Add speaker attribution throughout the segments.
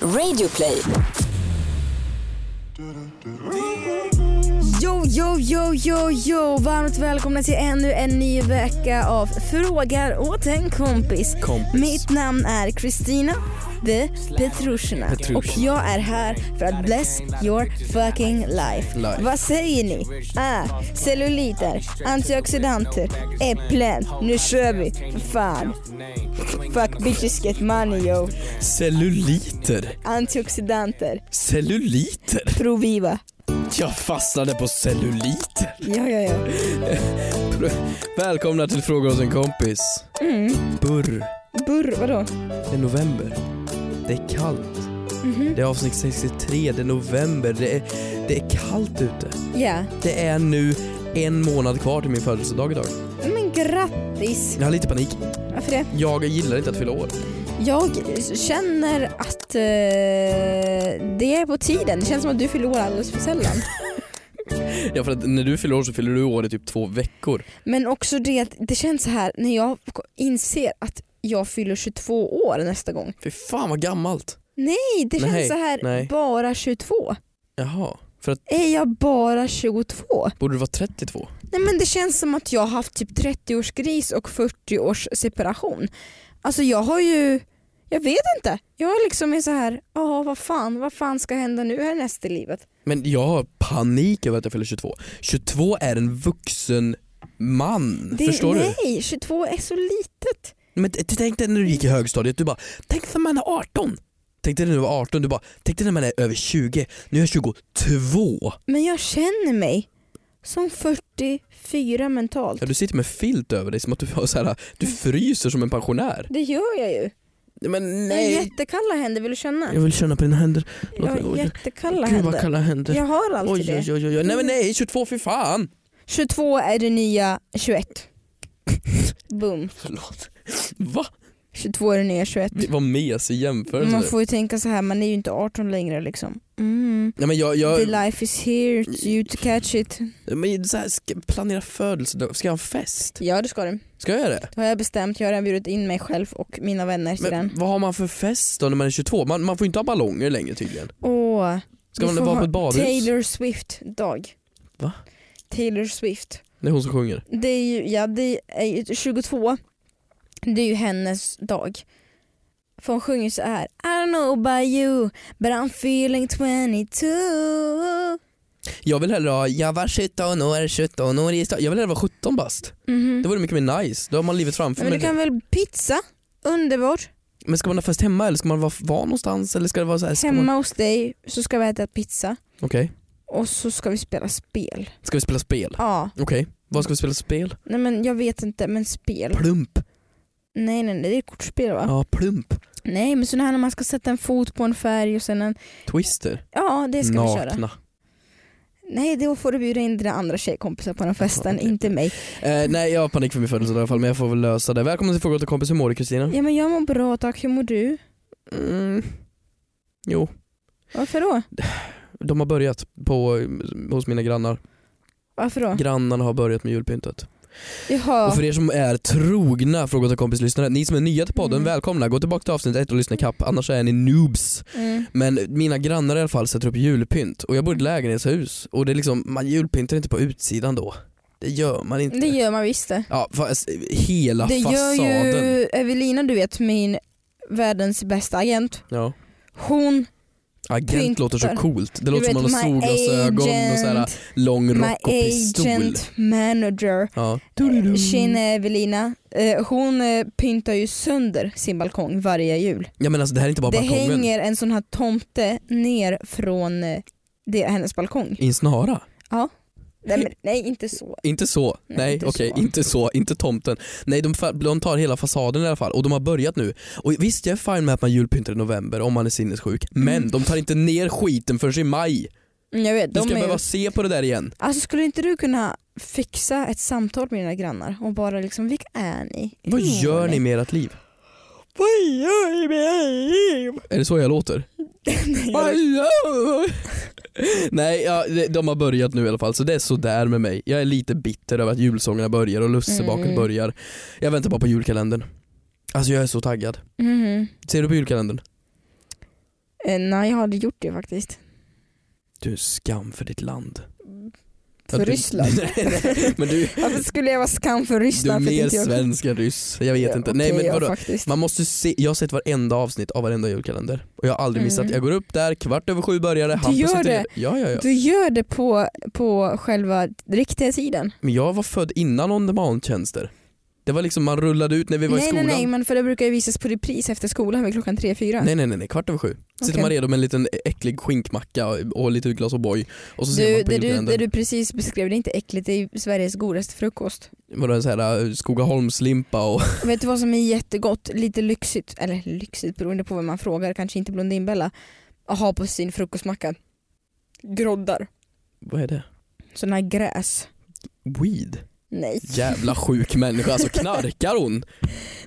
Speaker 1: Radioplay.
Speaker 2: Jo, jo, jo, jo, jo! Varmt välkomna till ännu en ny vecka av Frågar åt en kompis.
Speaker 3: Kompis.
Speaker 2: Mitt namn är Kristina de Petrushina
Speaker 3: Petrushina.
Speaker 2: och jag är här för att bless your fucking life.
Speaker 3: Life.
Speaker 2: Vad säger ni? Ah, celluliter, antioxidanter, äpplen. Nu kör vi, för fan. Fuck bitches get money yo.
Speaker 3: Celluliter.
Speaker 2: Antioxidanter,
Speaker 3: Celluliter.
Speaker 2: Proviva.
Speaker 3: Jag fastnade på celluliter.
Speaker 2: Ja, ja, ja.
Speaker 3: Välkomna till Fråga hos en kompis.
Speaker 2: Mm.
Speaker 3: Burr.
Speaker 2: Burr, vadå?
Speaker 3: Det är november. Det är kallt. Det är avsnitt 63. Det är november. Det är, det är kallt ute.
Speaker 2: Ja.
Speaker 3: Det är nu en månad kvar till min födelsedag idag.
Speaker 2: Men grattis!
Speaker 3: Jag har lite panik.
Speaker 2: Varför det?
Speaker 3: Jag gillar inte att fylla år.
Speaker 2: Jag känner att eh, det är på tiden. Det känns som att du fyller år alldeles för sällan.
Speaker 3: Ja, för att när du fyller år så fyller du år i typ två veckor.
Speaker 2: Men också det att det känns så här när jag inser att jag fyller 22 år nästa gång.
Speaker 3: Fy fan vad gammalt.
Speaker 2: Nej, det känns
Speaker 3: Nej,
Speaker 2: så här
Speaker 3: nej.
Speaker 2: bara 22.
Speaker 3: Jaha. För att
Speaker 2: Är jag bara 22?
Speaker 3: borde du vara 32?
Speaker 2: Nej men det känns som att jag har haft typ 30-årsgris och 40-års separation. Alltså jag har ju, jag vet inte. Jag liksom är så här, ja vad fan, vad fan ska hända nu härnäst i livet?
Speaker 3: Men jag har panik över att jag fyller 22. 22 är en vuxen man,
Speaker 2: Det-
Speaker 3: förstår
Speaker 2: nej, 22 är så litet.
Speaker 3: du? Men t- tänk dig när du gick i högstadiet, du bara tänk när man är 18. Tänk dig när du var 18, du bara tänk dig när man är över 20, nu är jag 22.
Speaker 2: Men jag känner mig som 44 mentalt.
Speaker 3: Ja, du sitter med filt över dig som att du, har så här, du fryser som en pensionär.
Speaker 2: Det gör jag ju.
Speaker 3: Nej, Men
Speaker 2: Jag har
Speaker 3: nej.
Speaker 2: jättekalla händer, vill du känna?
Speaker 3: Jag vill känna på dina händer.
Speaker 2: Jag
Speaker 3: Låt
Speaker 2: har
Speaker 3: mig, oj,
Speaker 2: jättekalla
Speaker 3: gud vad
Speaker 2: händer.
Speaker 3: kalla händer.
Speaker 2: Jag har alltid
Speaker 3: Oj,
Speaker 2: det.
Speaker 3: oj, oj, oj. Nej men nej 22 för fan.
Speaker 2: 22 är det nya 21. Boom.
Speaker 3: Förlåt. Va?
Speaker 2: 22 är det nya 21.
Speaker 3: Vi var mes i jämförelse.
Speaker 2: Man får ju tänka så här, man är ju inte 18 längre liksom. Mm.
Speaker 3: Nej, men jag, jag...
Speaker 2: The life is here, it's you to catch it.
Speaker 3: Men så här, ska planera födelsedag, ska jag ha en fest?
Speaker 2: Ja det ska du.
Speaker 3: Ska jag göra det?
Speaker 2: Det har jag bestämt, jag har redan bjudit in mig själv och mina vänner till den.
Speaker 3: Men vad har man för fest då när man är 22? Man, man får inte ha ballonger längre tydligen.
Speaker 2: Åh. vi
Speaker 3: Ska man
Speaker 2: får
Speaker 3: vara på
Speaker 2: ha
Speaker 3: ett badhus?
Speaker 2: Taylor Swift-dag.
Speaker 3: Va?
Speaker 2: Taylor Swift.
Speaker 3: Det är hon som sjunger.
Speaker 2: Det är ju, ja det är ju 22. Det är ju hennes dag. För hon sjunger så här. I don't know about you but I'm feeling 22.
Speaker 3: Jag vill hellre ha, jag var 17 år, 17 år i stad. Jag vill hellre vara 17 bast.
Speaker 2: Mhm.
Speaker 3: Det vore mycket mer nice. Då har man livet framför
Speaker 2: Men du
Speaker 3: men,
Speaker 2: kan väl pizza? Underbart.
Speaker 3: men ska man ha fest hemma eller ska man vara, vara någonstans? Eller ska det vara så här, ska man...
Speaker 2: Hemma hos dig så ska vi äta pizza
Speaker 3: Okej.
Speaker 2: och så ska vi spela spel.
Speaker 3: Ska vi spela spel?
Speaker 2: Ja,
Speaker 3: Okej. Vad ska vi spela spel?
Speaker 2: nej men jag vet inte men spel.
Speaker 3: Plump.
Speaker 2: Nej nej nej det är kortspel va?
Speaker 3: Ja, plump.
Speaker 2: Nej men så här när man ska sätta en fot på en färg och sen en
Speaker 3: Twister.
Speaker 2: Ja, det ska vi köra.
Speaker 3: Nakna.
Speaker 2: Nej, då får du bjuda in dina andra tjejkompisar på den festen,
Speaker 3: okej.
Speaker 2: inte mig.
Speaker 3: Eh, nej, jag har panik för min födelsedag i alla fall men jag får väl lösa det. Välkommen till Fråga till kompis. Hur mår du Kristina?
Speaker 2: Ja, men jag mår bra tack, hur mår du?
Speaker 3: Mm. Jo,
Speaker 2: Varför då?
Speaker 3: de har börjat på, hos mina grannar.
Speaker 2: Varför då?
Speaker 3: Grannarna har börjat med julpyntet.
Speaker 2: Jaha,
Speaker 3: Och för er som är trogna Fråga till kompis-lyssnare, ni som är nya till podden,
Speaker 2: Mm.
Speaker 3: välkomna. Gå tillbaka till avsnitt ett och lyssna kapp. annars är ni noobs.
Speaker 2: mm.
Speaker 3: Men mina grannar i alla fall sätter upp julpynt och jag bor i ett lägenhetshus och det är liksom, man julpyntar inte på utsidan då. Det gör man inte.
Speaker 2: det gör man visst det.
Speaker 3: Ja, fast, hela
Speaker 2: Det gör
Speaker 3: fasaden.
Speaker 2: ju Evelina, du vet min världens bästa agent.
Speaker 3: Ja.
Speaker 2: Hon,
Speaker 3: Agent
Speaker 2: Pyntar.
Speaker 3: låter så coolt. Det
Speaker 2: du
Speaker 3: låter
Speaker 2: vet
Speaker 3: som man har
Speaker 2: my
Speaker 3: solglasögon och sådär
Speaker 2: agent,
Speaker 3: lång
Speaker 2: my
Speaker 3: rock och pistol.
Speaker 2: agent manager.
Speaker 3: Ja.
Speaker 2: Tjena Evelina, Eh, hon eh, pyntar ju sönder sin balkong varje jul.
Speaker 3: Ja men alltså det här är inte bara
Speaker 2: det
Speaker 3: balkongen.
Speaker 2: hänger en sån här tomte ner från eh, det, hennes balkong.
Speaker 3: I en snara?
Speaker 2: Nej, men, nej inte så.
Speaker 3: Inte så.
Speaker 2: Nej,
Speaker 3: Nej
Speaker 2: inte
Speaker 3: okej,
Speaker 2: så.
Speaker 3: inte så. Inte tomten. Nej de, fa- de tar hela fasaden i alla fall och de har börjat nu. Och visst jag är fine med att man julpyntar i november om man är sinnessjuk. Men
Speaker 2: Mm.
Speaker 3: de tar inte ner skiten förrän i maj.
Speaker 2: Jag vet,
Speaker 3: Du
Speaker 2: de
Speaker 3: ska
Speaker 2: är ju...
Speaker 3: behöva se på det där igen.
Speaker 2: Alltså skulle inte du kunna fixa ett samtal med dina grannar och bara liksom, vilka är ni?
Speaker 3: Vad
Speaker 2: Hur mår
Speaker 3: gör ni med ert liv?
Speaker 2: Vad gör ni med era liv?
Speaker 3: Är det så jag låter?
Speaker 2: Nej,
Speaker 3: Hallå! Nej, ja, det- de har börjat nu i alla fall så det är sådär med mig. Jag är lite bitter över att julsångerna börjar och lussebaket
Speaker 2: Mm.
Speaker 3: börjar. Jag väntar bara på julkalendern. Alltså jag är så taggad.
Speaker 2: jag- Mhm.
Speaker 3: Ser du på julkalendern?
Speaker 2: Eh, nej, jag hade gjort det faktiskt.
Speaker 3: Du är en skam för ditt land.
Speaker 2: För
Speaker 3: Ja, du,
Speaker 2: Ryssland.
Speaker 3: nej, nej, men du,
Speaker 2: Varför skulle jag vara skam för
Speaker 3: du är
Speaker 2: Ryssland? för att
Speaker 3: mer
Speaker 2: inte jag-
Speaker 3: svensk än ryss. Jag vet
Speaker 2: Ja,
Speaker 3: inte. Nej
Speaker 2: okej,
Speaker 3: men
Speaker 2: ja,
Speaker 3: vadå?
Speaker 2: faktiskt.
Speaker 3: Man måste se, jag har sett varenda avsnitt av varenda julkalender och jag har aldrig missat.
Speaker 2: Mm.
Speaker 3: Jag går upp där, kvart över sju börjar det, Hampus
Speaker 2: gör
Speaker 3: sitter
Speaker 2: det?
Speaker 3: redo. Ja, ja, ja.
Speaker 2: Du gör det på, på själva riktiga tiden.
Speaker 3: Men jag var född innan on demand-tjänster. Det var liksom man rullade ut när vi var i
Speaker 2: Nej, nej,
Speaker 3: skolan.
Speaker 2: nej, men för det brukar ju visas på repris efter skolan vid klockan tre fyra.
Speaker 3: nej, nej, nej, nej, kvart över sju. Sitter
Speaker 2: Okej.
Speaker 3: man redo med en liten äcklig skinkmacka och- och lite glas O'boy och så ser
Speaker 2: Du,
Speaker 3: man på
Speaker 2: det, du, det
Speaker 3: julkalendern.
Speaker 2: du precis beskrev, det är inte äckligt, det är ju Sveriges godaste frukost.
Speaker 3: Vadå en sån här äh, Skogaholmslimpa och
Speaker 2: Vet du vad som är jättegott, lite lyxigt, eller lyxigt beroende på vem man frågar, kanske inte Blondinbella, att ha på sin frukostmacka? Groddar.
Speaker 3: vad är det?
Speaker 2: Sådana här gräs.
Speaker 3: Weed?
Speaker 2: Nej.
Speaker 3: Jävla sjuk människa alltså, knarkar hon?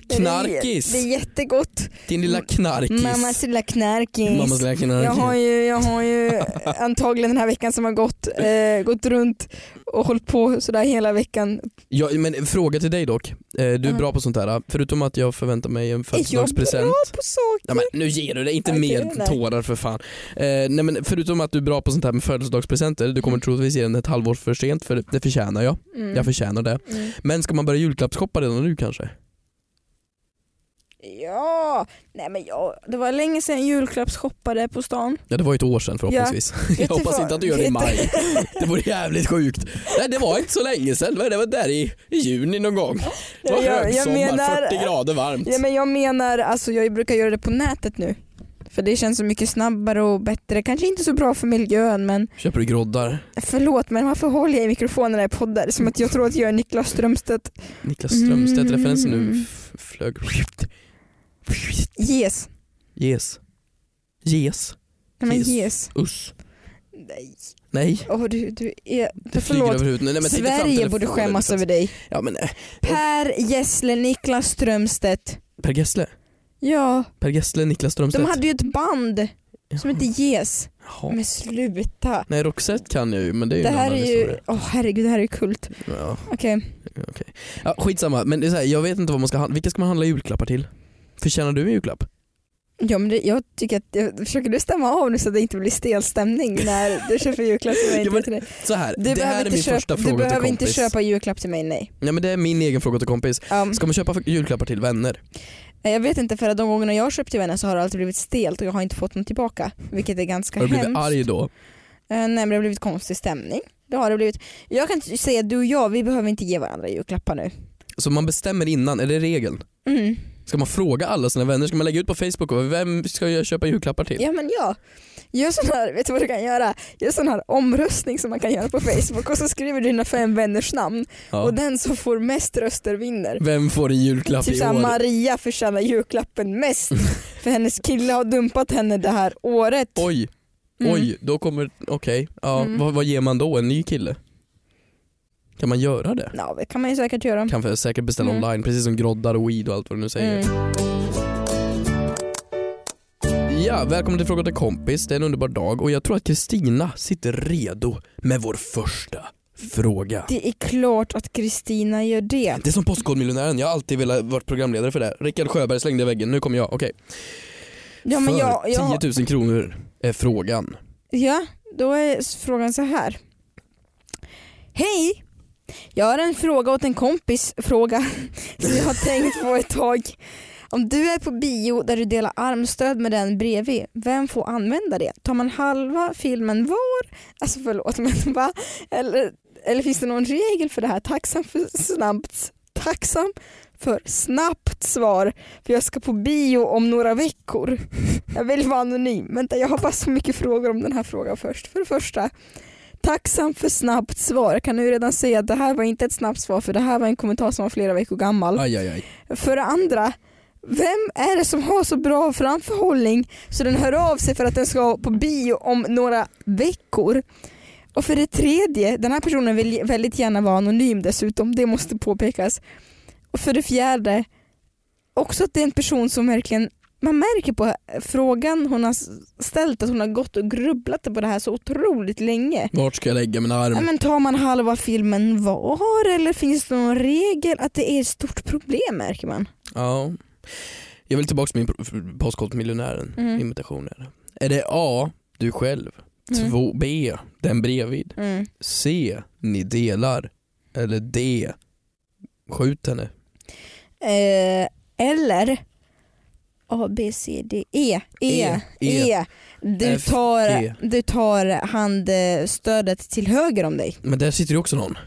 Speaker 2: Det är-
Speaker 3: Knarkis!
Speaker 2: Det är jättegott.
Speaker 3: Din lilla knarkis.
Speaker 2: Mammas lilla knarkis.
Speaker 3: Mammas lilla knarkis.
Speaker 2: Jag har ju, jag har ju antagligen den här veckan som har gått, eh, gått runt och hållit på sådär hela veckan.
Speaker 3: Ja, men fråga till dig dock. Eh, Du är
Speaker 2: Ja.
Speaker 3: bra på sånt här. Förutom att jag förväntar mig en födelsedagspresent.
Speaker 2: på saker.
Speaker 3: Ja, men nu ger du dig inte
Speaker 2: Okej,
Speaker 3: mer
Speaker 2: nej.
Speaker 3: tårar för fan. Eh, nej, men förutom att du är bra på sånt här med födelsedagspresenter, du kommer troligtvis ge den ett halvår för sent för det förtjänar jag.
Speaker 2: Mm.
Speaker 3: Jag förtjänar det.
Speaker 2: Mm.
Speaker 3: Men ska man börja julklappsshoppa redan nu kanske?
Speaker 2: Ja, nej men jag, det var länge sedan jag julklappsshoppade på stan.
Speaker 3: Ja det var ju ett år sedan förhoppningsvis.
Speaker 2: Vet
Speaker 3: Jag
Speaker 2: du
Speaker 3: hoppas
Speaker 2: vad?
Speaker 3: inte att du gör det i
Speaker 2: Vet-
Speaker 3: maj. Det vore jävligt sjukt. Nej det var inte så länge sedan, Vad är det var där i, i juni någon gång. Det var
Speaker 2: Jag- jag
Speaker 3: högsommar,
Speaker 2: menar-
Speaker 3: 40 grader varmt.
Speaker 2: Ja, men jag menar, alltså jag brukar göra det på nätet nu. För det känns så mycket snabbare och bättre. Kanske inte så bra för miljön men
Speaker 3: Köper du groddar?
Speaker 2: förlåt men varför håller jag i mikrofonen när jag poddar? Som att jag tror att jag är Niklas Strömstedt.
Speaker 3: Niklas Strömstedt-referensen nu
Speaker 2: Mm.
Speaker 3: f- flög.
Speaker 2: Yes.
Speaker 3: Yes. Yes.
Speaker 2: Nej men
Speaker 3: Yes.
Speaker 2: yes.
Speaker 3: Uss.
Speaker 2: Nej.
Speaker 3: Nej.
Speaker 2: Åh du, du är...
Speaker 3: Det flyger
Speaker 2: förlåt.
Speaker 3: över huvudet. Nej, men tänk dig fram
Speaker 2: Sverige
Speaker 3: telefonen.
Speaker 2: borde skämmas över dig.
Speaker 3: liksom Ja, men, eh,
Speaker 2: Per Gessle, Niklas Strömstedt.
Speaker 3: per Gessle.
Speaker 2: Ja,
Speaker 3: Per Gessle,
Speaker 2: de
Speaker 3: Niklas Strömstedt.
Speaker 2: hade ju ett band som hette Yes.
Speaker 3: Jaha.
Speaker 2: Men sluta.
Speaker 3: Nej Roxette kan jag ju men det är ju
Speaker 2: Det
Speaker 3: en
Speaker 2: här
Speaker 3: annan
Speaker 2: är ju,
Speaker 3: historia.
Speaker 2: åh herregud det här är ju kult.
Speaker 3: Ja,
Speaker 2: Okej,
Speaker 3: okej. ja, skitsamma, men det är så här, jag vet inte vad man ska handla. Vilka ska man handla julklappar till? Förtjänar du en julklapp?
Speaker 2: ja, men det, jag tycker att, jag, försöker du stämma av nu så att det inte blir stel stämning när du köper julklapp till mig?
Speaker 3: Ja, men
Speaker 2: till dig?
Speaker 3: Så här,
Speaker 2: Du
Speaker 3: det här
Speaker 2: behöver,
Speaker 3: är
Speaker 2: inte,
Speaker 3: min
Speaker 2: köpa,
Speaker 3: första
Speaker 2: du
Speaker 3: fråga till
Speaker 2: behöver
Speaker 3: kompis.
Speaker 2: inte köpa julklapp till mig, nej.
Speaker 3: Ja, men det är min egen fråga till kompis.
Speaker 2: Um,
Speaker 3: Ska man köpa för- julklappar till vänner?
Speaker 2: jag vet inte för att de gångerna jag har köpt till vänner så har det alltid blivit stelt och jag har inte fått något tillbaka. Vilket är ganska
Speaker 3: Har du blivit
Speaker 2: hemskt.
Speaker 3: arg då?
Speaker 2: Eh, nej men det har blivit konstig stämning. Det har det blivit. Jag kan t- säga att du och jag, vi behöver inte ge varandra julklappar nu.
Speaker 3: Så man bestämmer innan, är det regeln?
Speaker 2: Mm.
Speaker 3: Ska man fråga alla sina vänner? Ska man lägga ut på Facebook? Och vem ska jag köpa julklappar till?
Speaker 2: Ja men ja. Gör sån här, vet du vad du kan göra? Gör sån här omröstning som man kan göra på Facebook och så skriver du dina fem vänners namn
Speaker 3: Ja.
Speaker 2: och den som får mest röster vinner.
Speaker 3: Vem får en julklapp
Speaker 2: Typ
Speaker 3: i
Speaker 2: såhär
Speaker 3: år?
Speaker 2: Maria förtjänar julklappen mest för hennes kille har dumpat henne det här året.
Speaker 3: Oj,
Speaker 2: Mm.
Speaker 3: oj, då kommer... Okej, ja,
Speaker 2: Mm.
Speaker 3: vad, vad ger man då? En ny kille? Kan man göra det?
Speaker 2: Ja det kan man ju säkert göra.
Speaker 3: Kan för säkert beställa
Speaker 2: Mm.
Speaker 3: online, precis som groddar och weed och allt vad du nu säger.
Speaker 2: Mm. Mm.
Speaker 3: Ja, välkommen till Fråga till kompis. Det är en underbar dag och jag tror att Kristina sitter redo med vår första fråga.
Speaker 2: Det är klart att Kristina gör det.
Speaker 3: Det är som Postkodmiljonären, jag har alltid velat vara programledare för det. här. Rickard Sjöberg slängde i väggen, nu kommer jag. Okej.
Speaker 2: Ja, men
Speaker 3: för
Speaker 2: jag, jag,
Speaker 3: 10 000 kronor är frågan.
Speaker 2: Ja, då är frågan så här. Hej! Jag har en fråga åt en kompis fråga som jag har tänkt på ett tag. Om du är på bio där du delar armstöd med den bredvid, vem får använda det? Tar man halva filmen var? Alltså förlåt men va? Eller, eller finns det någon regel för det här? Tacksam för snabbt, tacksam för snabbt svar för jag ska på bio om några veckor. Jag vill vara anonym. Vänta, jag har bara så mycket frågor om den här frågan först. För det första, tacksam för snabbt svar. Jag kan nu redan säga att det här var inte ett snabbt svar för det här var en kommentar som var flera veckor gammal.
Speaker 3: Aj, aj, aj.
Speaker 2: För det andra, vem är det som har så bra framförhållning så den hör av sig för att den ska på bio om några veckor? Och för det tredje, den här personen vill väldigt gärna vara anonym dessutom, det måste påpekas. Och för det fjärde, också att det är en person som verkligen, man märker på frågan hon har ställt att hon har gått och grubblat på det här så otroligt länge.
Speaker 3: Vart ska jag lägga min
Speaker 2: Ja,
Speaker 3: arm?
Speaker 2: men tar man halva filmen var eller finns det någon regel att det är ett stort problem märker man?
Speaker 3: Ja. Jag vill tillbaka till min Postkodmiljonären
Speaker 2: Mm.
Speaker 3: imitationer. Är det A. Du själv?
Speaker 2: Mm.
Speaker 3: 2. B. Den bredvid?
Speaker 2: Mm.
Speaker 3: C. Ni delar? Eller D. Skjut henne.
Speaker 2: Eh, eller A, B, C, D, E. E.
Speaker 3: E,
Speaker 2: e. Du,
Speaker 3: F,
Speaker 2: tar,
Speaker 3: E.
Speaker 2: du tar handstödet till höger om dig.
Speaker 3: Men där sitter ju också någon.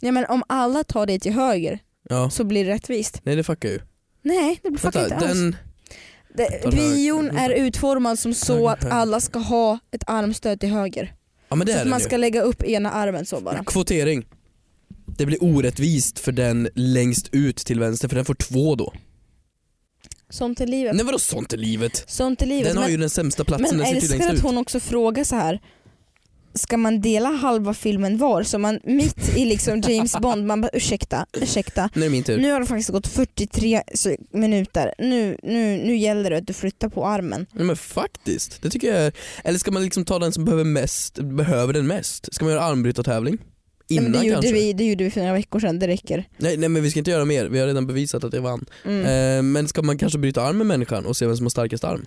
Speaker 2: Ja, men om alla tar det till höger
Speaker 3: Ja.
Speaker 2: så blir det rättvist.
Speaker 3: Nej det fuckar ju.
Speaker 2: Nej, det blir faktiskt inte alls.
Speaker 3: den...
Speaker 2: Det,
Speaker 3: tar höger.
Speaker 2: bion är utformad som så
Speaker 3: Höger,
Speaker 2: att
Speaker 3: höger.
Speaker 2: alla ska ha ett armstöd till höger.
Speaker 3: Ja men det
Speaker 2: Så
Speaker 3: är
Speaker 2: att
Speaker 3: den
Speaker 2: man
Speaker 3: ju.
Speaker 2: ska lägga upp ena armen så bara.
Speaker 3: Kvotering. Det blir orättvist för den längst ut till vänster för den får två då.
Speaker 2: Sånt är livet.
Speaker 3: Nej vadå sånt är livet?
Speaker 2: Sånt är livet.
Speaker 3: Den har
Speaker 2: Men,
Speaker 3: ju den sämsta
Speaker 2: men
Speaker 3: platsen, den sitter ju
Speaker 2: älskar
Speaker 3: längst
Speaker 2: att
Speaker 3: ut.
Speaker 2: hon också frågar så här. Ska man dela halva filmen var? Så man mitt i liksom James Bond, man bara ursäkta, ursäkta.
Speaker 3: Nu är det min tur.
Speaker 2: Nu har det faktiskt gått 43 se- minuter. Nu, nu, nu gäller det att du flyttar på armen.
Speaker 3: Nej, men faktiskt, det tycker jag är... Eller ska man liksom ta den som behöver, mest, behöver den mest? Ska man göra armbrytartävling?
Speaker 2: Nej,
Speaker 3: Innan
Speaker 2: men det, gjorde
Speaker 3: kanske?
Speaker 2: vi, det gjorde vi för några veckor sedan, det räcker.
Speaker 3: Nej, nej men vi ska inte göra mer, vi har redan bevisat att jag vann.
Speaker 2: Mm.
Speaker 3: Eh, men ska man kanske bryta arm med människan och se vem som har starkast arm?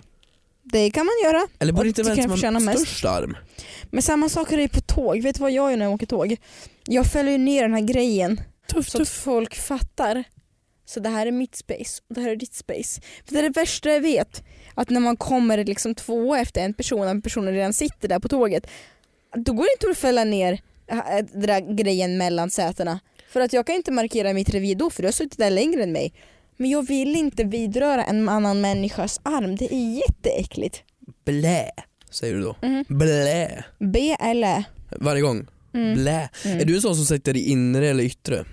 Speaker 2: Det kan man göra.
Speaker 3: Eller
Speaker 2: Och
Speaker 3: borde inte
Speaker 2: tycker
Speaker 3: vem
Speaker 2: jag
Speaker 3: som
Speaker 2: förtjänar
Speaker 3: har
Speaker 2: mest.
Speaker 3: störst arm?
Speaker 2: Men samma sak är det ju på tåg. Vet du vad jag gör när jag åker tåg? Jag fäller ju ner den här grejen
Speaker 3: Tufft,
Speaker 2: så att folk fattar. Så det här är mitt space och det här är ditt space. För det är det värsta jag vet. Att när man kommer liksom två efter en person och den personen redan sitter där på tåget. Då går det inte att fälla ner äh, den där grejen mellan sätena. För att jag kan inte markera mitt revir då för du har suttit där längre än mig. Men jag vill inte vidröra en annan människas arm. Det är jätteäckligt.
Speaker 3: Blä, säger du då.
Speaker 2: Mm.
Speaker 3: Blä.
Speaker 2: B eller?
Speaker 3: Varje gång.
Speaker 2: Mm.
Speaker 3: Blä.
Speaker 2: Mm.
Speaker 3: Är du en sån som sätter i inre eller yttre?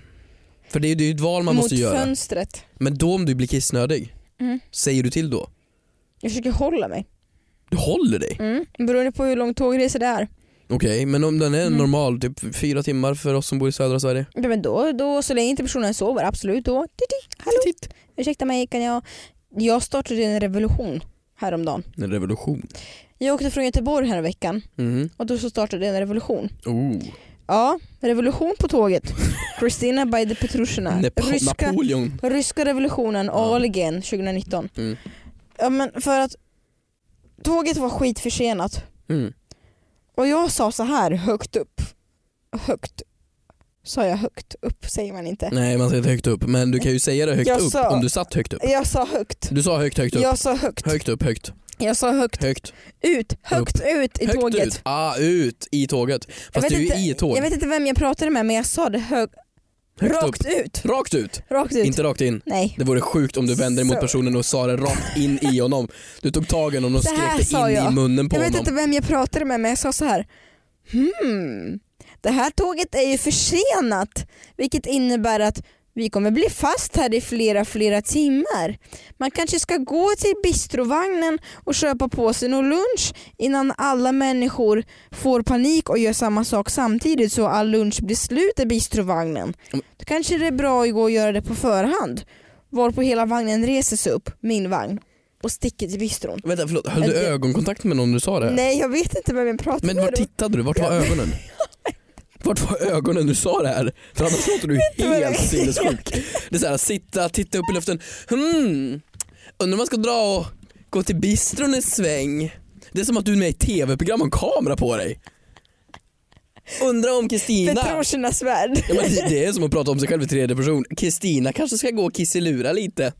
Speaker 3: För det är det är ju ett val man
Speaker 2: Mot
Speaker 3: måste göra.
Speaker 2: fönstret.
Speaker 3: Men då om du blir kissnödig,
Speaker 2: Mm.
Speaker 3: säger du till då?
Speaker 2: Jag försöker hålla mig.
Speaker 3: Du håller dig?
Speaker 2: Mm. Beroende på hur lång tågresa det är.
Speaker 3: Okej, men om den är
Speaker 2: Mm.
Speaker 3: normal, typ fyra timmar för oss som bor i södra Sverige?
Speaker 2: Ja, men då, då, så länge inte personen sover, absolut då. Titti, hallå,
Speaker 3: Titt.
Speaker 2: ursäkta mig, kan jag... Jag startade en revolution häromdagen.
Speaker 3: En revolution.
Speaker 2: Jag åkte från Göteborg här i veckan
Speaker 3: Mhm.
Speaker 2: och då så startade jag en revolution.
Speaker 3: Oh.
Speaker 2: Ja, revolution på tåget. Kristina by the Petrushina.
Speaker 3: Nepo-
Speaker 2: Ryska,
Speaker 3: Napoleon.
Speaker 2: ryska revolutionen,
Speaker 3: Ja.
Speaker 2: all again, 2019.
Speaker 3: Mm.
Speaker 2: Ja, men för att tåget var skitförsenat
Speaker 3: Mm.
Speaker 2: Och jag sa så här högt upp. Högt. Sa jag högt upp säger man inte.
Speaker 3: Nej man säger inte högt upp, men du kan ju säga det högt
Speaker 2: Jag
Speaker 3: upp
Speaker 2: sa-
Speaker 3: om du satt högt upp.
Speaker 2: Jag sa högt.
Speaker 3: Du sa högt, högt upp.
Speaker 2: Jag sa högt.
Speaker 3: Högt upp, högt,
Speaker 2: Jag sa högt.
Speaker 3: högt.
Speaker 2: Ut. Högt ut i
Speaker 3: högt
Speaker 2: tåget.
Speaker 3: ut. Ah, ut i tåget.
Speaker 2: Jag
Speaker 3: Fast
Speaker 2: vet,
Speaker 3: du är ju
Speaker 2: inte,
Speaker 3: i ett tåg.
Speaker 2: jag vet inte vem jag pratade med men jag sa det hög,
Speaker 3: högt
Speaker 2: rakt
Speaker 3: upp.
Speaker 2: ut.
Speaker 3: Rakt ut.
Speaker 2: Rakt ut.
Speaker 3: Inte rakt in.
Speaker 2: Nej.
Speaker 3: Det vore sjukt om du vände dig mot
Speaker 2: Så.
Speaker 3: personen och sa det rakt in i honom. Du tog tag i honom och
Speaker 2: Så här
Speaker 3: skrek
Speaker 2: sa
Speaker 3: det in
Speaker 2: jag.
Speaker 3: i munnen på
Speaker 2: Jag vet
Speaker 3: honom.
Speaker 2: inte vem jag pratade med men jag sa så här. Hmm. Det här tåget är ju försenat. Vilket innebär att vi kommer bli fast här i flera, flera timmar. Man kanske ska gå till bistrovagnen och köpa på sig någon lunch innan alla människor får panik och gör samma sak samtidigt så all lunch blir slut i bistrovagnen.
Speaker 3: Mm.
Speaker 2: Då kanske det är bra att gå och göra det på förhand. Varpå hela vagnen reser sig upp, min vagn, och sticker till bistron.
Speaker 3: Vänta förlåt, höll
Speaker 2: Men
Speaker 3: du
Speaker 2: det-
Speaker 3: ögonkontakt med någon när du sa det? här?
Speaker 2: Nej jag vet inte vem jag pratade
Speaker 3: Men
Speaker 2: med
Speaker 3: vart
Speaker 2: då.
Speaker 3: tittade du? Vart var
Speaker 2: Ja.
Speaker 3: ögonen? Vart var ögonen när du sa det här? För annars låter du
Speaker 2: vad jag-
Speaker 3: helt sinnessjuk. Det är såhär, sitta, titta upp i luften. Hmm, undrar om man ska dra och gå till bistron en sväng. Det är som att du är med i ett tv-program och har en kamera på dig. Undrar om Kristina...
Speaker 2: Petrosina svärd.
Speaker 3: Ja, men det- det är som att prata om sig själv i tredje person. Kristina kanske ska gå och kisselura lite.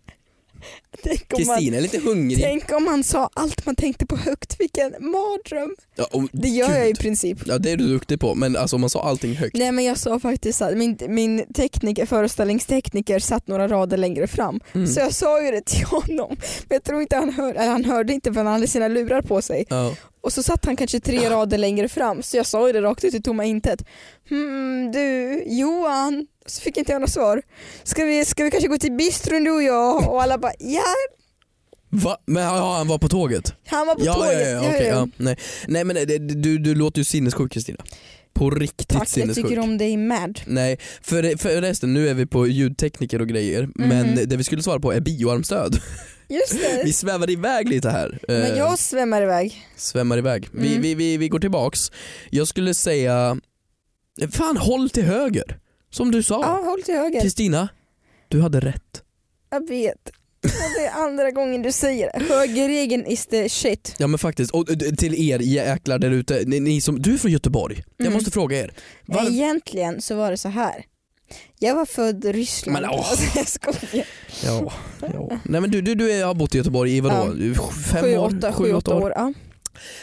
Speaker 2: Tänk om, man,
Speaker 3: Kristina är lite hungrig.
Speaker 2: tänk om man sa allt man tänkte på högt, vilken mardröm.
Speaker 3: Ja, och,
Speaker 2: Det gör jag i
Speaker 3: Gud.
Speaker 2: princip.
Speaker 3: ja, det är du duktig på, men alltså, om man sa allting högt.
Speaker 2: Nej men jag sa faktiskt att min, min tekniker, föreställningstekniker satt några rader längre fram.
Speaker 3: Mm.
Speaker 2: Så jag sa ju det till honom. Men jag tror inte han hörde, eller han hörde inte för han hade sina lurar på sig.
Speaker 3: Ja.
Speaker 2: Och så satt han kanske tre rader längre fram så jag sa ju det rakt ut i tomma intet. Hmm, du Johan, så fick inte jag något svar. Ska vi, ska vi kanske gå till bistron du och jag? Och alla bara ja,
Speaker 3: Va? Men ja, han var på tåget?
Speaker 2: han var på
Speaker 3: ja,
Speaker 2: tåget.
Speaker 3: ja, ja, okej, ja. Nej. nej men det, det- du, du låter ju sinnessjuk Kristina. På riktigt
Speaker 2: Tack, jag
Speaker 3: sinnessjuk.
Speaker 2: tycker om dig med.
Speaker 3: Nej, för, för resten, nu är vi på ljudtekniker och grejer,
Speaker 2: Mhm.
Speaker 3: men det vi skulle svara på är bioarmstöd.
Speaker 2: Just det.
Speaker 3: Vi svävade iväg lite här.
Speaker 2: Men
Speaker 3: Eh,
Speaker 2: jag svämmar iväg.
Speaker 3: Svämmar iväg. Vi,
Speaker 2: Mm.
Speaker 3: vi, vi, vi går tillbaks. Jag skulle säga, fan håll till höger. Som du
Speaker 2: Ja,
Speaker 3: sa.
Speaker 2: håll till höger.
Speaker 3: Kristina, du hade rätt.
Speaker 2: Jag vet. Och det är andra gången du säger det. Högerregeln is the shit.
Speaker 3: Ja men faktiskt, och eh, till er jäklar där ute, ni, ni som, du är från Göteborg, jag
Speaker 2: Mm.
Speaker 3: måste fråga er. Var,
Speaker 2: Egentligen så var det så här. Jag var född i Ryssland.
Speaker 3: Men, åh.
Speaker 2: Alltså, jag skojar.
Speaker 3: ja, ja. Nej men du, du, du är- har bott i Göteborg i vadå? Fem
Speaker 2: Sju,
Speaker 3: år?
Speaker 2: åtta, sju, åtta år. Ja.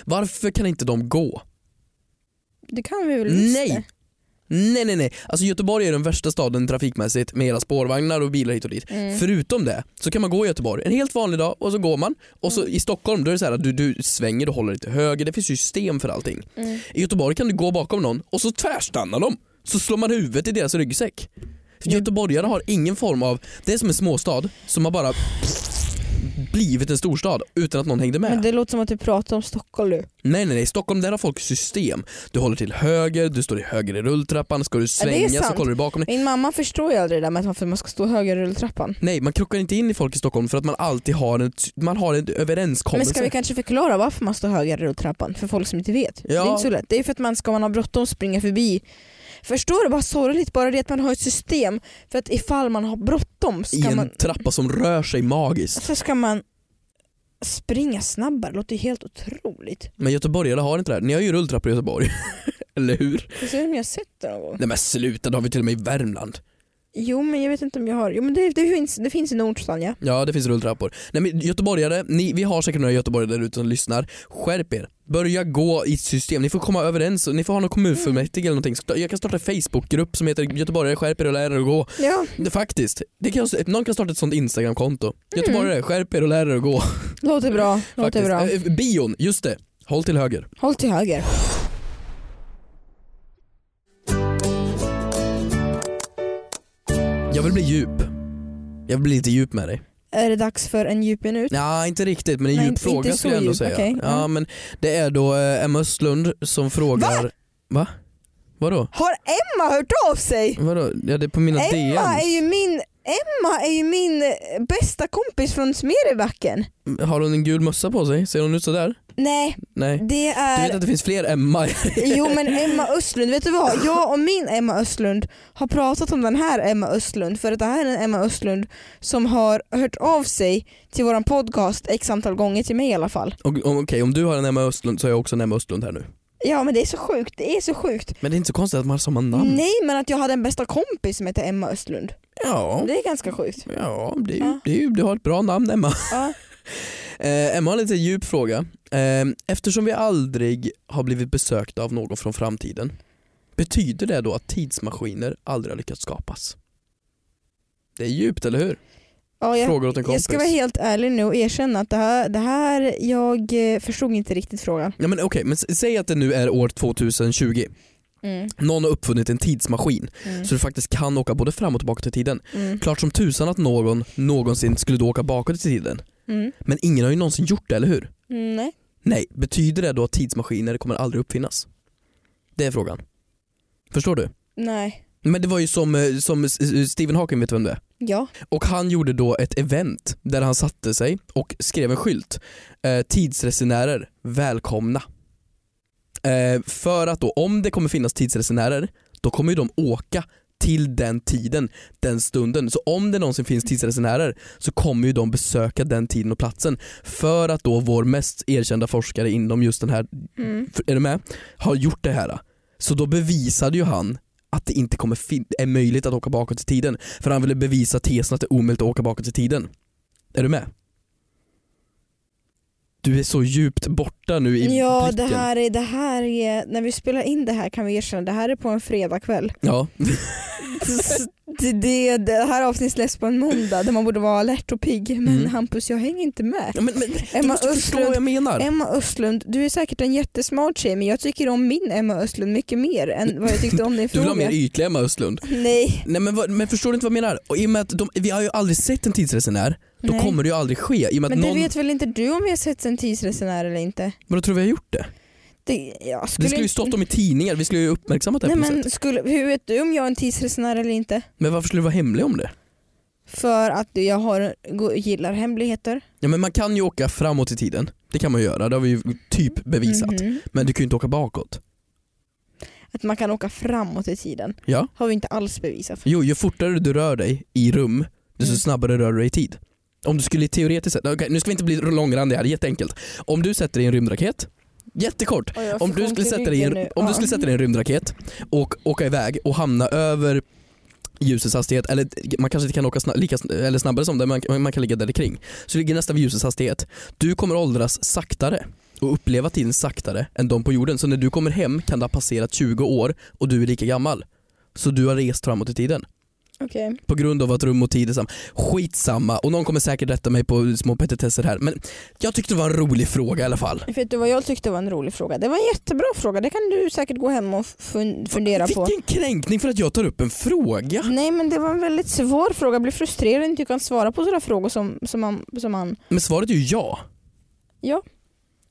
Speaker 3: Varför kan inte de gå?
Speaker 2: Det kan vi väl visst det.
Speaker 3: Nej! Nej nej nej, alltså Göteborg är den värsta staden trafikmässigt med era spårvagnar och bilar hit och dit.
Speaker 2: Mm.
Speaker 3: Förutom det så kan man gå i Göteborg en helt vanlig dag och så går man och
Speaker 2: Mm.
Speaker 3: så i Stockholm då är det så här att du, du svänger och håller lite höger, det finns ju system för allting.
Speaker 2: Mm.
Speaker 3: I Göteborg kan du gå bakom någon och så tvärstannar de. Så slår man huvudet i deras ryggsäck.
Speaker 2: Mm.
Speaker 3: För Göteborgare har ingen form av, det är som en småstad som har bara blivit en storstad utan att någon hängde med.
Speaker 2: Men det låter som att du pratar om Stockholm nu.
Speaker 3: Nej nej nej, i Stockholm där har folk system. Du håller till höger, du står i höger i rulltrappan, ska du
Speaker 2: Ja, det är
Speaker 3: svänga så
Speaker 2: sant.
Speaker 3: kollar du bakom dig.
Speaker 2: Min mamma förstår ju aldrig det där med att varför man ska stå höger i rulltrappan.
Speaker 3: Nej man krockar inte in i folk i Stockholm för att man alltid har en, man har en
Speaker 2: Men
Speaker 3: överenskommelse.
Speaker 2: ska vi kanske förklara varför man står höger i rulltrappan för folk som inte vet? Det
Speaker 3: Ja.
Speaker 2: är inte så lätt. Det är för att man ska man ha bråttom springa förbi. Förstår du vad sorgligt bara det att man har ett system för att ifall man har bråttom
Speaker 3: I
Speaker 2: ska
Speaker 3: en
Speaker 2: man,
Speaker 3: trappa som rör sig magiskt.
Speaker 2: så ska man springa snabbare. Det låter ju helt otroligt.
Speaker 3: Men göteborgare har inte det här. Ni har ju rulltrappor i Göteborg. Eller hur?
Speaker 2: Jag ser om jag har sett det någon gång.
Speaker 3: Nej men sluta, det har vi till och med i Värmland.
Speaker 2: Jo men jag vet inte om jag har. Jo men det, det finns, det finns i Nordstan ja.
Speaker 3: Ja det finns rulltrappor. Nej men göteborgare, ni, vi har säkert några göteborgare där ute som lyssnar. Skärp er. Börja gå i ett system. Ni får komma överens och ni får ha någon kommunfullmäktige eller någonting. Sta- Jag kan starta en Facebookgrupp som heter Göteborgare skärp er och lär er att gå.
Speaker 2: Ja,
Speaker 3: Det, faktiskt. Det kan, jag- någon kan starta ett sånt Instagramkonto. Göteborgare skärp er och lär er att gå.
Speaker 2: låter bra. Mm. Låter
Speaker 3: Faktiskt.
Speaker 2: bra.
Speaker 3: Eh, bion, just det. Håll till höger.
Speaker 2: Håll till höger.
Speaker 3: Jag vill bli djup. Jag vill bli lite djup med dig.
Speaker 2: Är det dags för en djup minut?
Speaker 3: Nej inte riktigt men en
Speaker 2: Nej,
Speaker 3: djup
Speaker 2: inte-
Speaker 3: fråga
Speaker 2: inte
Speaker 3: skulle jag
Speaker 2: så
Speaker 3: ändå
Speaker 2: djup,
Speaker 3: säga.
Speaker 2: okej.
Speaker 3: Ja
Speaker 2: Mm.
Speaker 3: men det är då eh, Emma Östlund som frågar... Va? Va? Vadå?
Speaker 2: Har Emma hört av sig?
Speaker 3: Vadå? Ja det är på mina
Speaker 2: Emma är
Speaker 3: DMs.
Speaker 2: ju min, Emma är ju min eh, bästa kompis från Smedjebacken.
Speaker 3: Har hon en gul mössa på sig? Ser hon ut sådär?
Speaker 2: Nej,
Speaker 3: Nej.
Speaker 2: det
Speaker 3: Du
Speaker 2: är...
Speaker 3: vet att det finns fler Emma?
Speaker 2: Jo men Emma Östlund, vet du vad? Jag och min Emma Östlund har pratat om den här Emma Östlund för att det här är en Emma Östlund som har hört av sig till våran podcast x antal gånger till mig i alla fall.
Speaker 3: Och- och- Okej om du har en Emma Östlund så har jag också en Emma Östlund här nu.
Speaker 2: Ja men det är så sjukt, det är så sjukt.
Speaker 3: Men det är inte så konstigt att man har samma namn.
Speaker 2: Nej men att jag hade en bästa kompis som hette Emma Östlund.
Speaker 3: Ja.
Speaker 2: Det är ganska sjukt.
Speaker 3: Ja, det är, ju-
Speaker 2: Ja.
Speaker 3: det är, ju- du har ett bra namn Emma.
Speaker 2: Ja.
Speaker 3: Eh, Emma har en lite djup fråga. Eh, eftersom vi aldrig har blivit besökta av någon från framtiden, betyder det då att tidsmaskiner aldrig har lyckats skapas? Det är djupt, eller hur?
Speaker 2: Ja, jag,
Speaker 3: Frågor åt en
Speaker 2: jag
Speaker 3: kompis.
Speaker 2: ska vara helt ärlig nu och erkänna att det här, det här jag eh, förstod inte riktigt frågan.
Speaker 3: Ja, men okej, men s- säg att det nu är år 2020.
Speaker 2: Mm.
Speaker 3: Någon har uppfunnit en tidsmaskin
Speaker 2: Mm.
Speaker 3: så du faktiskt kan åka både fram och tillbaka till tiden.
Speaker 2: Mm.
Speaker 3: Klart som tusan att någon någonsin skulle då åka bakåt i tiden.
Speaker 2: Mm.
Speaker 3: Men ingen har ju någonsin gjort det, eller hur?
Speaker 2: Mm. Nej.
Speaker 3: Nej, betyder det då att tidsmaskiner kommer aldrig uppfinnas? Det är frågan. Förstår du?
Speaker 2: Nej.
Speaker 3: Men det var ju som, eh, som S- S- Stephen Hawking, vet du vem det är?
Speaker 2: Ja.
Speaker 3: Och han gjorde då ett event där han satte sig och skrev en skylt. Eh, tidsresenärer, välkomna. Eh, för att då, om det kommer finnas tidsresenärer, då kommer ju de åka till den tiden, den stunden. Så om det någonsin finns tidsresenärer så kommer ju de besöka den tiden och platsen. För att då vår mest erkända forskare inom just den här
Speaker 2: Mm.
Speaker 3: för- är du med? Har gjort det här. Så då bevisade ju han att det inte kommer fin- är möjligt att åka bakåt i tiden. För han ville bevisa tesen att det är omöjligt att åka bakåt i tiden. Är du med? Du är så djupt borta nu i
Speaker 2: Ja det
Speaker 3: blicken.
Speaker 2: här, är, det här är, när vi spelar in det här kan vi erkänna, det här är på en fredagkväll.
Speaker 3: Ja.
Speaker 2: det, det, det här avsnittet släpps på en måndag där man borde vara alert och pigg men
Speaker 3: Mm.
Speaker 2: Hampus jag hänger inte med.
Speaker 3: Ja, Men, men, du
Speaker 2: Emma
Speaker 3: måste förstå
Speaker 2: Östlund-
Speaker 3: vad jag menar.
Speaker 2: Emma Östlund, du är säkert en jättesmart tjej men jag tycker om min Emma Östlund mycket mer än vad jag tyckte om din
Speaker 3: du vill ha
Speaker 2: fråga.
Speaker 3: mer ytlig Emma Östlund.
Speaker 2: Nej.
Speaker 3: Nej, men, vad- men förstår du inte vad jag menar? Och I och med att de, vi har ju aldrig sett en tidsresenär, då
Speaker 2: Nej.
Speaker 3: kommer det ju aldrig ske. I och med att
Speaker 2: Men det
Speaker 3: någon,
Speaker 2: vet väl inte du om vi har sett en tidsresenär eller inte?
Speaker 3: men då tror vi har gjort det.
Speaker 2: Det, jag skulle
Speaker 3: Det skulle ju
Speaker 2: inte-
Speaker 3: stått om i tidningar, vi skulle ju uppmärksammat det
Speaker 2: Nej,
Speaker 3: på något sätt.
Speaker 2: men skulle, Hur vet du om jag är en tidsresenär eller inte?
Speaker 3: Men varför skulle du vara hemlig om det?
Speaker 2: För att jag har, go- gillar hemligheter.
Speaker 3: Ja men man kan ju åka framåt i tiden, det kan man göra, det har vi ju typ bevisat.
Speaker 2: Mhm.
Speaker 3: Men du kan ju inte åka bakåt.
Speaker 2: Att man kan åka framåt i tiden
Speaker 3: Ja.
Speaker 2: har vi inte alls bevisat.
Speaker 3: Jo, ju fortare du rör dig i rum, desto
Speaker 2: Mm.
Speaker 3: snabbare rör du dig i tid. Om du skulle teoretiskt sett, okej, nu ska vi inte bli långrandiga här, jätteenkelt. Om du sätter dig i en rymdraket, jättekort.
Speaker 2: Oj, jag
Speaker 3: Om
Speaker 2: får
Speaker 3: du,
Speaker 2: ont i
Speaker 3: skulle sätta dig i
Speaker 2: ryggen
Speaker 3: en,
Speaker 2: nu.
Speaker 3: om du
Speaker 2: Ja.
Speaker 3: skulle sätta dig i en rymdraket och åka iväg och hamna över ljusets hastighet, eller man kanske inte kan åka sna- lika, sn- eller snabbare som det, man, man kan ligga där det kring. Så ligger nästan vid ljusets hastighet. Du kommer åldras saktare och uppleva tiden saktare än de på jorden. Så när du kommer hem kan det ha passerat 20 år och du är lika gammal. Så du har rest framåt i tiden.
Speaker 2: Okej.
Speaker 3: På grund av att rum och tid är samma. Skitsamma, och någon kommer säkert rätta mig på små petitesser här. Men jag tyckte det var en rolig fråga i alla fall.
Speaker 2: Vet du vad jag tyckte var en rolig fråga? Det var en jättebra fråga. Det kan du säkert gå hem och fun- fundera på.
Speaker 3: Vilken kränkning för att jag tar upp en fråga.
Speaker 2: Nej men det var en väldigt svår fråga. Jag blir frustrerad när jag inte kan svara på sådana frågor som, som, man, som man...
Speaker 3: Men svaret är ju ja.
Speaker 2: Ja.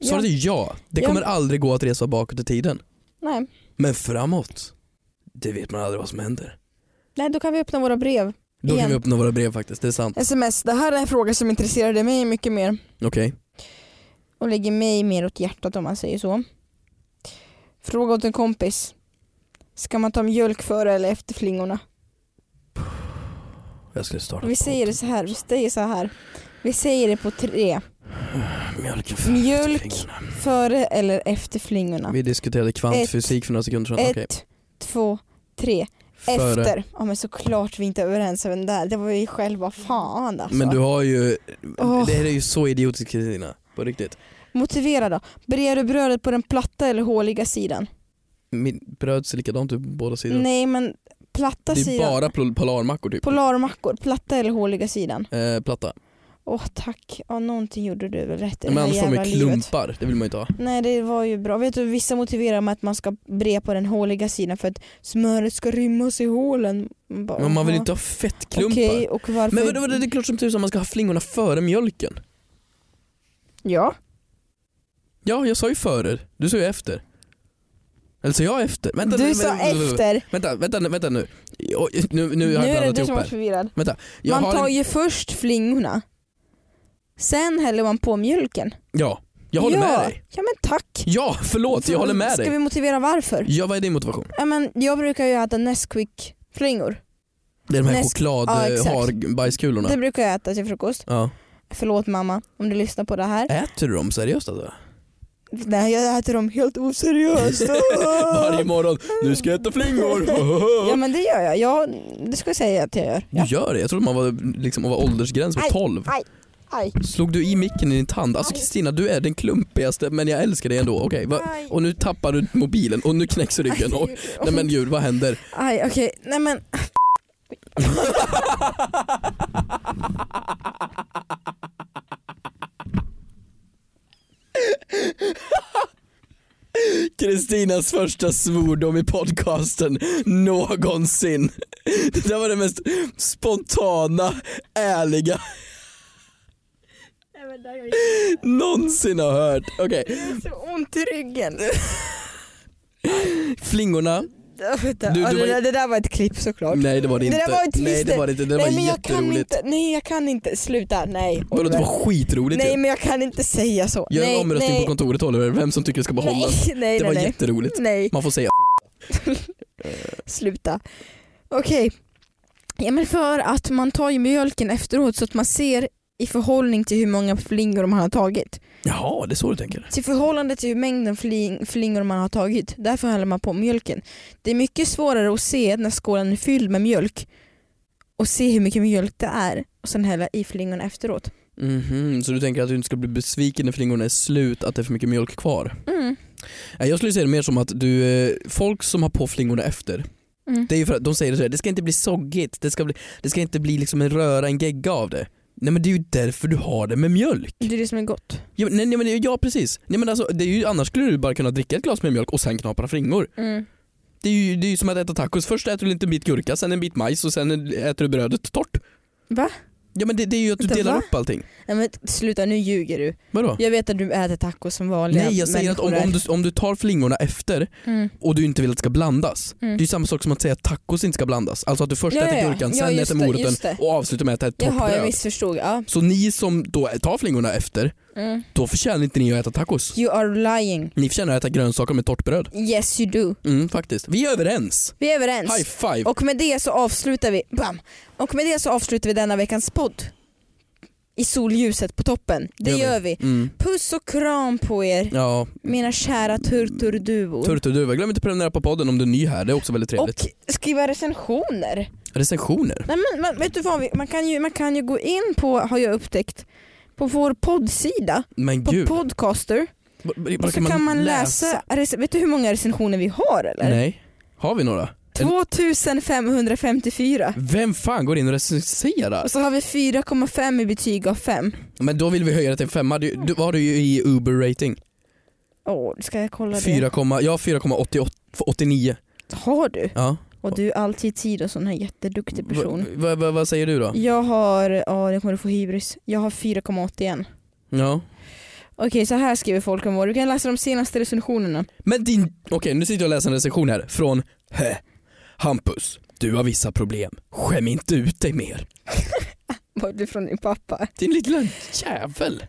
Speaker 3: Svaret
Speaker 2: ja.
Speaker 3: är ju ja. Det
Speaker 2: Ja.
Speaker 3: kommer aldrig gå att resa bakåt i tiden.
Speaker 2: Nej.
Speaker 3: Men framåt, det vet man aldrig vad som händer.
Speaker 2: Nej, då kan vi öppna våra brev.
Speaker 3: Då kan
Speaker 2: Igen.
Speaker 3: vi öppna våra brev faktiskt, det är sant.
Speaker 2: Sms. Det här är en fråga som intresserade mig mycket mer.
Speaker 3: Okej.
Speaker 2: Och ligger mig mer åt hjärtat om man säger så. Fråga åt en kompis. Ska man ta mjölk före eller efter flingorna?
Speaker 3: Jag skulle starta
Speaker 2: Vi säger det så här. Vi säger så här. Vi säger det på tre.
Speaker 3: Mjölk.
Speaker 2: Mjölk. Före eller efter flingorna?
Speaker 3: Vi diskuterade kvantfysik för några sekunder sedan. Okej.
Speaker 2: Ett, två, tre.
Speaker 3: Före.
Speaker 2: Efter. alltså. Ja men såklart vi inte är överens även där. Det var ju själva fan alltså.
Speaker 3: Men du har ju,
Speaker 2: Åh.
Speaker 3: det här är ju så idiotiskt Kristina. På riktigt.
Speaker 2: Motivera då. Brer du brödet på den platta eller håliga sidan?
Speaker 3: Min bröd ser likadant ut på båda sidor.
Speaker 2: Nej men
Speaker 3: det
Speaker 2: platta
Speaker 3: är
Speaker 2: sidan.
Speaker 3: bara pol- polarmackor typ.
Speaker 2: Polarmackor, platta eller håliga sidan?
Speaker 3: eh, platta.
Speaker 2: Åh tack, ja någonting gjorde du väl rätt i
Speaker 3: Men
Speaker 2: det här
Speaker 3: annars får man
Speaker 2: jävla
Speaker 3: ju
Speaker 2: livet.
Speaker 3: klumpar, det vill man ju inte ha.
Speaker 2: Nej det var ju bra. Vet du vissa motiverar med att man ska bre på den håliga sidan för att smöret ska rymmas i hålen. Bara,
Speaker 3: Men man vill
Speaker 2: aha.
Speaker 3: inte ha fettklumpar.
Speaker 2: Okej, och varför?
Speaker 3: Men vadå, vadå, det är klart som tusan man ska ha flingorna före mjölken.
Speaker 2: Ja.
Speaker 3: Ja, jag sa ju före. Du sa ju efter. Eller sa jag efter? Vänta,
Speaker 2: Du
Speaker 3: vänta,
Speaker 2: sa
Speaker 3: vänta, vänta,
Speaker 2: efter.
Speaker 3: Vänta, vänta, nu- vänta nu. Oj, Nu, nu,
Speaker 2: Nu
Speaker 3: har jag
Speaker 2: är det
Speaker 3: blandat
Speaker 2: du
Speaker 3: ihop
Speaker 2: som är
Speaker 3: här.
Speaker 2: förvirrad.
Speaker 3: Jag
Speaker 2: man
Speaker 3: har
Speaker 2: tar
Speaker 3: en,
Speaker 2: ju först flingorna. Sen häller man på mjölken.
Speaker 3: ja, jag håller
Speaker 2: ja.
Speaker 3: med dig.
Speaker 2: Ja men tack.
Speaker 3: Ja, förlåt, jag håller med
Speaker 2: Ska
Speaker 3: dig.
Speaker 2: vi motivera varför?
Speaker 3: Ja, vad är din motivation?
Speaker 2: Ja, men jag brukar ju äta Nesquik-flingor.
Speaker 3: Det är de här
Speaker 2: Näst-
Speaker 3: choklad eh,
Speaker 2: ja, exakt.
Speaker 3: har bajskulorna.
Speaker 2: Det brukar jag äta till frukost.
Speaker 3: Ja.
Speaker 2: Förlåt mamma om du lyssnar på det här.
Speaker 3: Äter du dem seriöst alltså?
Speaker 2: Nej jag äter dem helt oseriöst.
Speaker 3: Varje morgon, nu ska jag äta flingor.
Speaker 2: ja men det gör jag. jag. Det ska jag säga att jag gör. Ja.
Speaker 3: Du gör det? Jag trodde man var, liksom, var åldersgräns
Speaker 2: Aj.
Speaker 3: på 12.
Speaker 2: Aj.
Speaker 3: Slog du i micken i din tand? Alltså
Speaker 2: Aj.
Speaker 3: Kristina, du är den klumpigaste men jag älskar dig ändå. Okej, va-
Speaker 2: Aj.
Speaker 3: och nu tappar du mobilen och nu knäcks ryggen. Och,
Speaker 2: Aj,
Speaker 3: nej men gud, vad händer?
Speaker 2: Aj okej, nej men.
Speaker 3: Kristinas första svordom i podcasten någonsin. Det där var det mest spontana, ärliga någonsin har hört. Okej,
Speaker 2: Det är så ont i ryggen.
Speaker 3: flingorna.
Speaker 2: Vänta,
Speaker 3: Du-
Speaker 2: ja,
Speaker 3: du
Speaker 2: det,
Speaker 3: var-
Speaker 2: där, det där var ett klipp såklart.
Speaker 3: Nej det var det
Speaker 2: Det
Speaker 3: inte.
Speaker 2: där var ett
Speaker 3: nej det
Speaker 2: visst-
Speaker 3: var det inte. Det där
Speaker 2: nej
Speaker 3: var
Speaker 2: men jag kan
Speaker 3: jätteroligt.
Speaker 2: inte, nej jag kan inte, sluta, nej.
Speaker 3: Vadå det
Speaker 2: Oliver.
Speaker 3: var skitroligt
Speaker 2: nej
Speaker 3: ju.
Speaker 2: men jag kan inte säga så.
Speaker 3: Gör en
Speaker 2: nej,
Speaker 3: omröstning
Speaker 2: nej,
Speaker 3: på kontoret Oliver, vem som tycker det ska behållas.
Speaker 2: Nej, nej,
Speaker 3: Det
Speaker 2: nej,
Speaker 3: var
Speaker 2: Mm. nej.
Speaker 3: jätteroligt.
Speaker 2: nej,
Speaker 3: Man får säga
Speaker 2: sluta. Okej. Ja men för att man tar ju mjölken efteråt så att man ser i förhållning till hur många flingor man har tagit.
Speaker 3: Jaha, det är så du tänker?
Speaker 2: Till förhållande till hur mängden fling, flingor man har tagit. Därför häller man på mjölken. Det är mycket svårare att se när skålen är fylld med mjölk och se hur mycket mjölk det är och sen hälla i flingorna efteråt.
Speaker 3: Mhm, så du tänker att du inte ska bli besviken när flingorna är slut, att det är för mycket mjölk kvar?
Speaker 2: Mm.
Speaker 3: Nej, Jag skulle säga det mer som att du, eh, folk som har på flingorna efter,
Speaker 2: Mm.
Speaker 3: det är ju för att de säger det så här, det ska inte bli soggigt, det ska, bli, det ska inte bli liksom en röra, en gegga av det. Nej men det är ju därför du har det med mjölk.
Speaker 2: Det är det som är gott.
Speaker 3: Ja, nej, nej, men, ja precis, nej, men alltså, det är ju, annars skulle du bara kunna dricka ett glas med mjölk och sen knapra flingor.
Speaker 2: Mm.
Speaker 3: Det är ju, det är ju som att äta tacos, först äter du en liten bit gurka, sen en bit majs och sen äter du brödet torrt.
Speaker 2: Va?
Speaker 3: Ja men det, det är ju att du
Speaker 2: Vänta,
Speaker 3: delar
Speaker 2: va?
Speaker 3: upp allting.
Speaker 2: Nej men sluta nu ljuger du.
Speaker 3: Vadå?
Speaker 2: Jag vet att du äter tacos som vanliga
Speaker 3: Nej jag säger att om,
Speaker 2: människor
Speaker 3: om,
Speaker 2: är.
Speaker 3: du, om du tar flingorna efter
Speaker 2: Mm.
Speaker 3: och du inte vill att det ska blandas.
Speaker 2: Mm.
Speaker 3: Det är ju samma sak som att säga att tacos inte ska blandas. Alltså att du först
Speaker 2: Ja, ja,
Speaker 3: äter
Speaker 2: ja.
Speaker 3: gurkan,
Speaker 2: Ja,
Speaker 3: sen
Speaker 2: just
Speaker 3: äter
Speaker 2: det,
Speaker 3: moroten
Speaker 2: just det.
Speaker 3: och avslutar med att äta ett torrt
Speaker 2: Jaha jag
Speaker 3: bröd.
Speaker 2: missförstod. Ja.
Speaker 3: Så ni som då tar flingorna efter,
Speaker 2: Mm.
Speaker 3: då förtjänar inte ni att äta tacos.
Speaker 2: You are lying.
Speaker 3: Ni förtjänar att äta grönsaker med torrt bröd.
Speaker 2: Yes you do.
Speaker 3: Mm, faktiskt. Vi är överens.
Speaker 2: Vi är överens.
Speaker 3: High five.
Speaker 2: Och med det så avslutar vi, bam. Och med det så avslutar vi denna veckans podd. i solljuset på toppen. Det
Speaker 3: Gör vi.
Speaker 2: gör vi.
Speaker 3: Mm.
Speaker 2: Puss och kram på er
Speaker 3: Ja,
Speaker 2: mina kära turturduor.
Speaker 3: turturduva. Glöm inte att prenumerera på podden om du är ny här, det är också väldigt trevligt.
Speaker 2: och skriva recensioner.
Speaker 3: Recensioner.
Speaker 2: Nej, men, men, vet du vad, vi- man kan, ju, man kan ju gå in på, har jag upptäckt, på vår poddsida,
Speaker 3: Men
Speaker 2: på
Speaker 3: gud.
Speaker 2: Podcaster.
Speaker 3: B- b-
Speaker 2: Och så kan man läsa, rec- vet du hur många recensioner vi har eller?
Speaker 3: Nej. Har vi några?
Speaker 2: 2554.
Speaker 3: Vem fan går in och recenserar?
Speaker 2: Och så har vi 4,5 i betyg av 5.
Speaker 3: Men då vill vi höja det till en femma. Du, du, vad har du ju i Uber rating?
Speaker 2: Åh, ska jag kolla
Speaker 3: 4, ja 4,89.
Speaker 2: det? Har du?
Speaker 3: Ja.
Speaker 2: Och du är alltid tid och sån här jätteduktig person.
Speaker 3: Va- va- va- vad säger du då?
Speaker 2: Jag har, ja nu kommer du få hybris. Jag har 4,81.
Speaker 3: Ja.
Speaker 2: Okej så här skriver folk om vår, du kan läsa de senaste recensionerna.
Speaker 3: Men din, okej nu sitter jag och läser en recension här från Hä. Hampus, du har vissa problem. Skäm inte ut dig mer.
Speaker 2: Var det från din pappa?
Speaker 3: Din lilla jävel.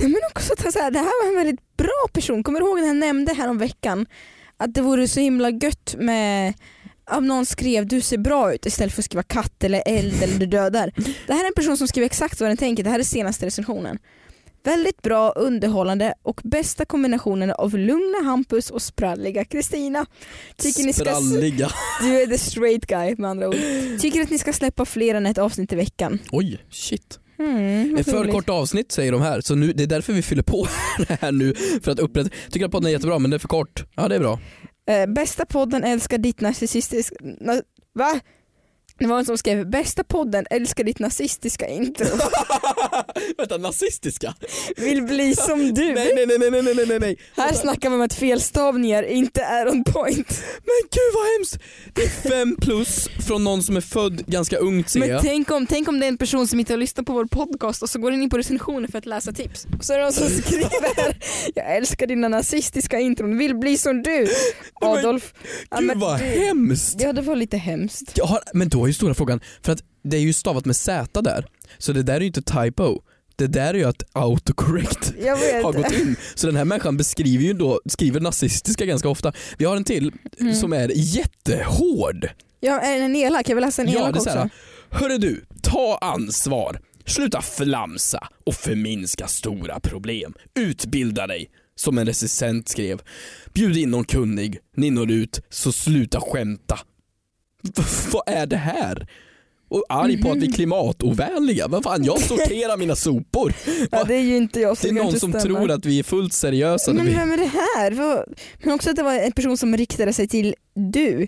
Speaker 2: Nej, Men också att han så här, det här var en väldigt bra person. Kommer du ihåg när jag nämnde här om veckan att det vore så himla gött med om någon skrev du ser bra ut istället för att skriva katt eller eld eller du dödar. Det här är en person som skriver exakt vad den tänker. Det här är senaste recensionen. Väldigt bra, underhållande och bästa kombinationen av lugna Hampus och spralliga Kristina. Tycker ni ska...
Speaker 3: Spralliga.
Speaker 2: Du är the straight guy med andra ord. Tycker att ni ska släppa fler än ett avsnitt i veckan.
Speaker 3: Oj, shit.
Speaker 2: Mm,
Speaker 3: Ett
Speaker 2: vad
Speaker 3: för
Speaker 2: roligt.
Speaker 3: kort avsnitt säger de här, så nu, det är därför vi fyller på det här nu. För att upprätta, tycker att podden är jättebra men det är för kort. Ja det är bra.
Speaker 2: Eh, bästa podden älskar ditt narcissistiska... Na, va? Det var en som skrev bästa podden älskar ditt nazistiska intro.
Speaker 3: Vänta, nazistiska?
Speaker 2: Vill bli som du.
Speaker 3: Nej nej nej nej nej nej nej nej.
Speaker 2: Här snackar vi om att felstavningar inte är on point.
Speaker 3: Men gud vad hemskt! Det är fem plus från någon som är född ganska ungt ser
Speaker 2: Men
Speaker 3: jag.
Speaker 2: tänk om, tänk om det är en person som inte har lyssnat på vår podcast och så går den in på recensioner för att läsa tips. Och så är det någon som
Speaker 3: Mm.
Speaker 2: skriver Jag älskar dina nazistiska intron, vill bli som du. Adolf. Ja,
Speaker 3: Gud
Speaker 2: men
Speaker 3: vad
Speaker 2: du-
Speaker 3: hemskt!
Speaker 2: Ja det var lite hemskt.
Speaker 3: Jag har, men då är ju stora frågan, för att det är ju stavat med Z där, så det där är ju inte typo. Det där är ju att autocorrect
Speaker 2: Jag vet.
Speaker 3: har gått in. Så den här människan beskriver ju då, skriver nazistiska ganska ofta. Vi har en till
Speaker 2: Mm.
Speaker 3: som är jättehård.
Speaker 2: Ja, är den elak? Jag vill läsa en
Speaker 3: Ja,
Speaker 2: elak
Speaker 3: det är
Speaker 2: också.
Speaker 3: såhär, hörru du, ta ansvar. Sluta flamsa och förminska stora problem. Utbilda dig, som en recensent skrev. Bjud in någon kunnig, ni når ut, så sluta skämta. V- vad är det här? Och arg på att vi
Speaker 2: Mhm.
Speaker 3: är klimatovänliga. Vad fan, jag sorterar mina sopor.
Speaker 2: Ja, det är ju inte jag som
Speaker 3: Det är
Speaker 2: kan
Speaker 3: någon
Speaker 2: inte
Speaker 3: som
Speaker 2: stämma.
Speaker 3: tror att vi är fullt seriösa. när
Speaker 2: Men
Speaker 3: vi...
Speaker 2: vem är det här? Vad- Men också att det var en person som riktade sig till du.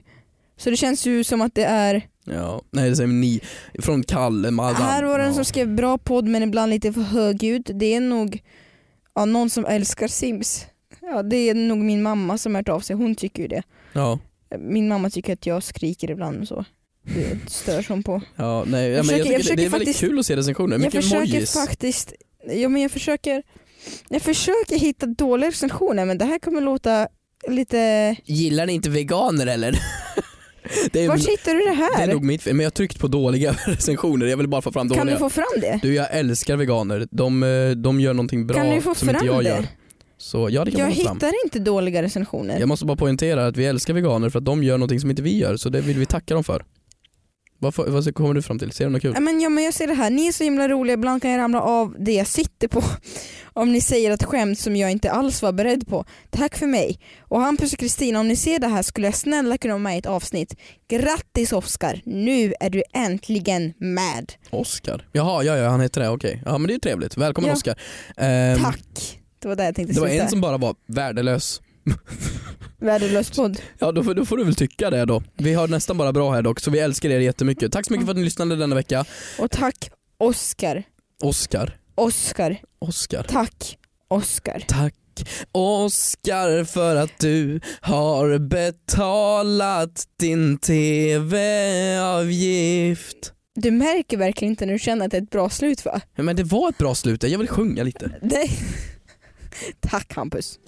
Speaker 2: Så det känns ju som att det är...
Speaker 3: Ja, nej det säger ni. Från Kalle, Madame.
Speaker 2: Här var det en
Speaker 3: ja.
Speaker 2: som skrev bra podd men ibland lite för högljudd. Det är nog ja, någon som älskar Sims. Ja, det är nog min mamma som har hört av sig. Hon tycker ju det.
Speaker 3: Ja,
Speaker 2: Min mamma tycker att jag skriker ibland och så. Det störs hon på.
Speaker 3: ja nej. ja, men
Speaker 2: försöker-
Speaker 3: jag
Speaker 2: jag
Speaker 3: tycker det, det
Speaker 2: försöker
Speaker 3: är väldigt
Speaker 2: faktiskt-
Speaker 3: kul att se recensioner.
Speaker 2: Jag
Speaker 3: Mycket
Speaker 2: försöker
Speaker 3: emojis.
Speaker 2: faktiskt... Ja, men jag försöker... Jag försöker hitta dåliga recensioner men det här kommer låta lite...
Speaker 3: Gillar ni inte veganer eller? det, är,
Speaker 2: Var hittar du det
Speaker 3: det
Speaker 2: här?
Speaker 3: är nog mitt fel, men jag har tryckt på dåliga recensioner. Jag vill bara få fram
Speaker 2: Kan
Speaker 3: dåliga.
Speaker 2: du få fram det?
Speaker 3: Du jag älskar veganer. De, eh, de gör någonting bra
Speaker 2: kan du få
Speaker 3: som
Speaker 2: fram
Speaker 3: inte jag
Speaker 2: det?
Speaker 3: gör. Så ja det kan
Speaker 2: Jag
Speaker 3: man få fram.
Speaker 2: hittar inte dåliga recensioner.
Speaker 3: Jag måste bara poängtera att vi älskar veganer för att de gör någonting som inte vi gör så det vill vi tacka dem för. Vad, får- vad kommer du fram till? Ser du något kul?
Speaker 2: Ja, men, ja, men jag ser det här, ni är så himla roliga, ibland kan jag ramla av det jag sitter på. Om ni säger ett skämt som jag inte alls var beredd på. Tack för mig. Och Hampus och Kristina, om ni ser det här skulle jag snälla kunna vara med i ett avsnitt. Grattis Oskar, nu är du äntligen med.
Speaker 3: Oscar. Jaha, ja, ja han heter det, okej. Ja men det är ju trevligt. Välkommen
Speaker 2: Ja.
Speaker 3: Oscar. Ehm,
Speaker 2: Tack. Det var där jag tänkte
Speaker 3: Det var
Speaker 2: sluta.
Speaker 3: en som bara var värdelös.
Speaker 2: Värdelös podd.
Speaker 3: Ja då, får- då får du väl tycka det då. Vi har nästan bara bra här dock så vi älskar er jättemycket. Tack så mycket för att ni lyssnade denna vecka.
Speaker 2: Och tack Oskar.
Speaker 3: Oscar.
Speaker 2: Oskar.
Speaker 3: Oscar.
Speaker 2: Tack Oskar.
Speaker 3: Tack Oscar för att du har betalat din tv-avgift.
Speaker 2: Du märker verkligen inte när du känner att det är ett bra slut va?
Speaker 3: Men det var ett bra slut, jag vill sjunga lite.
Speaker 2: Nej. Tack Hampus.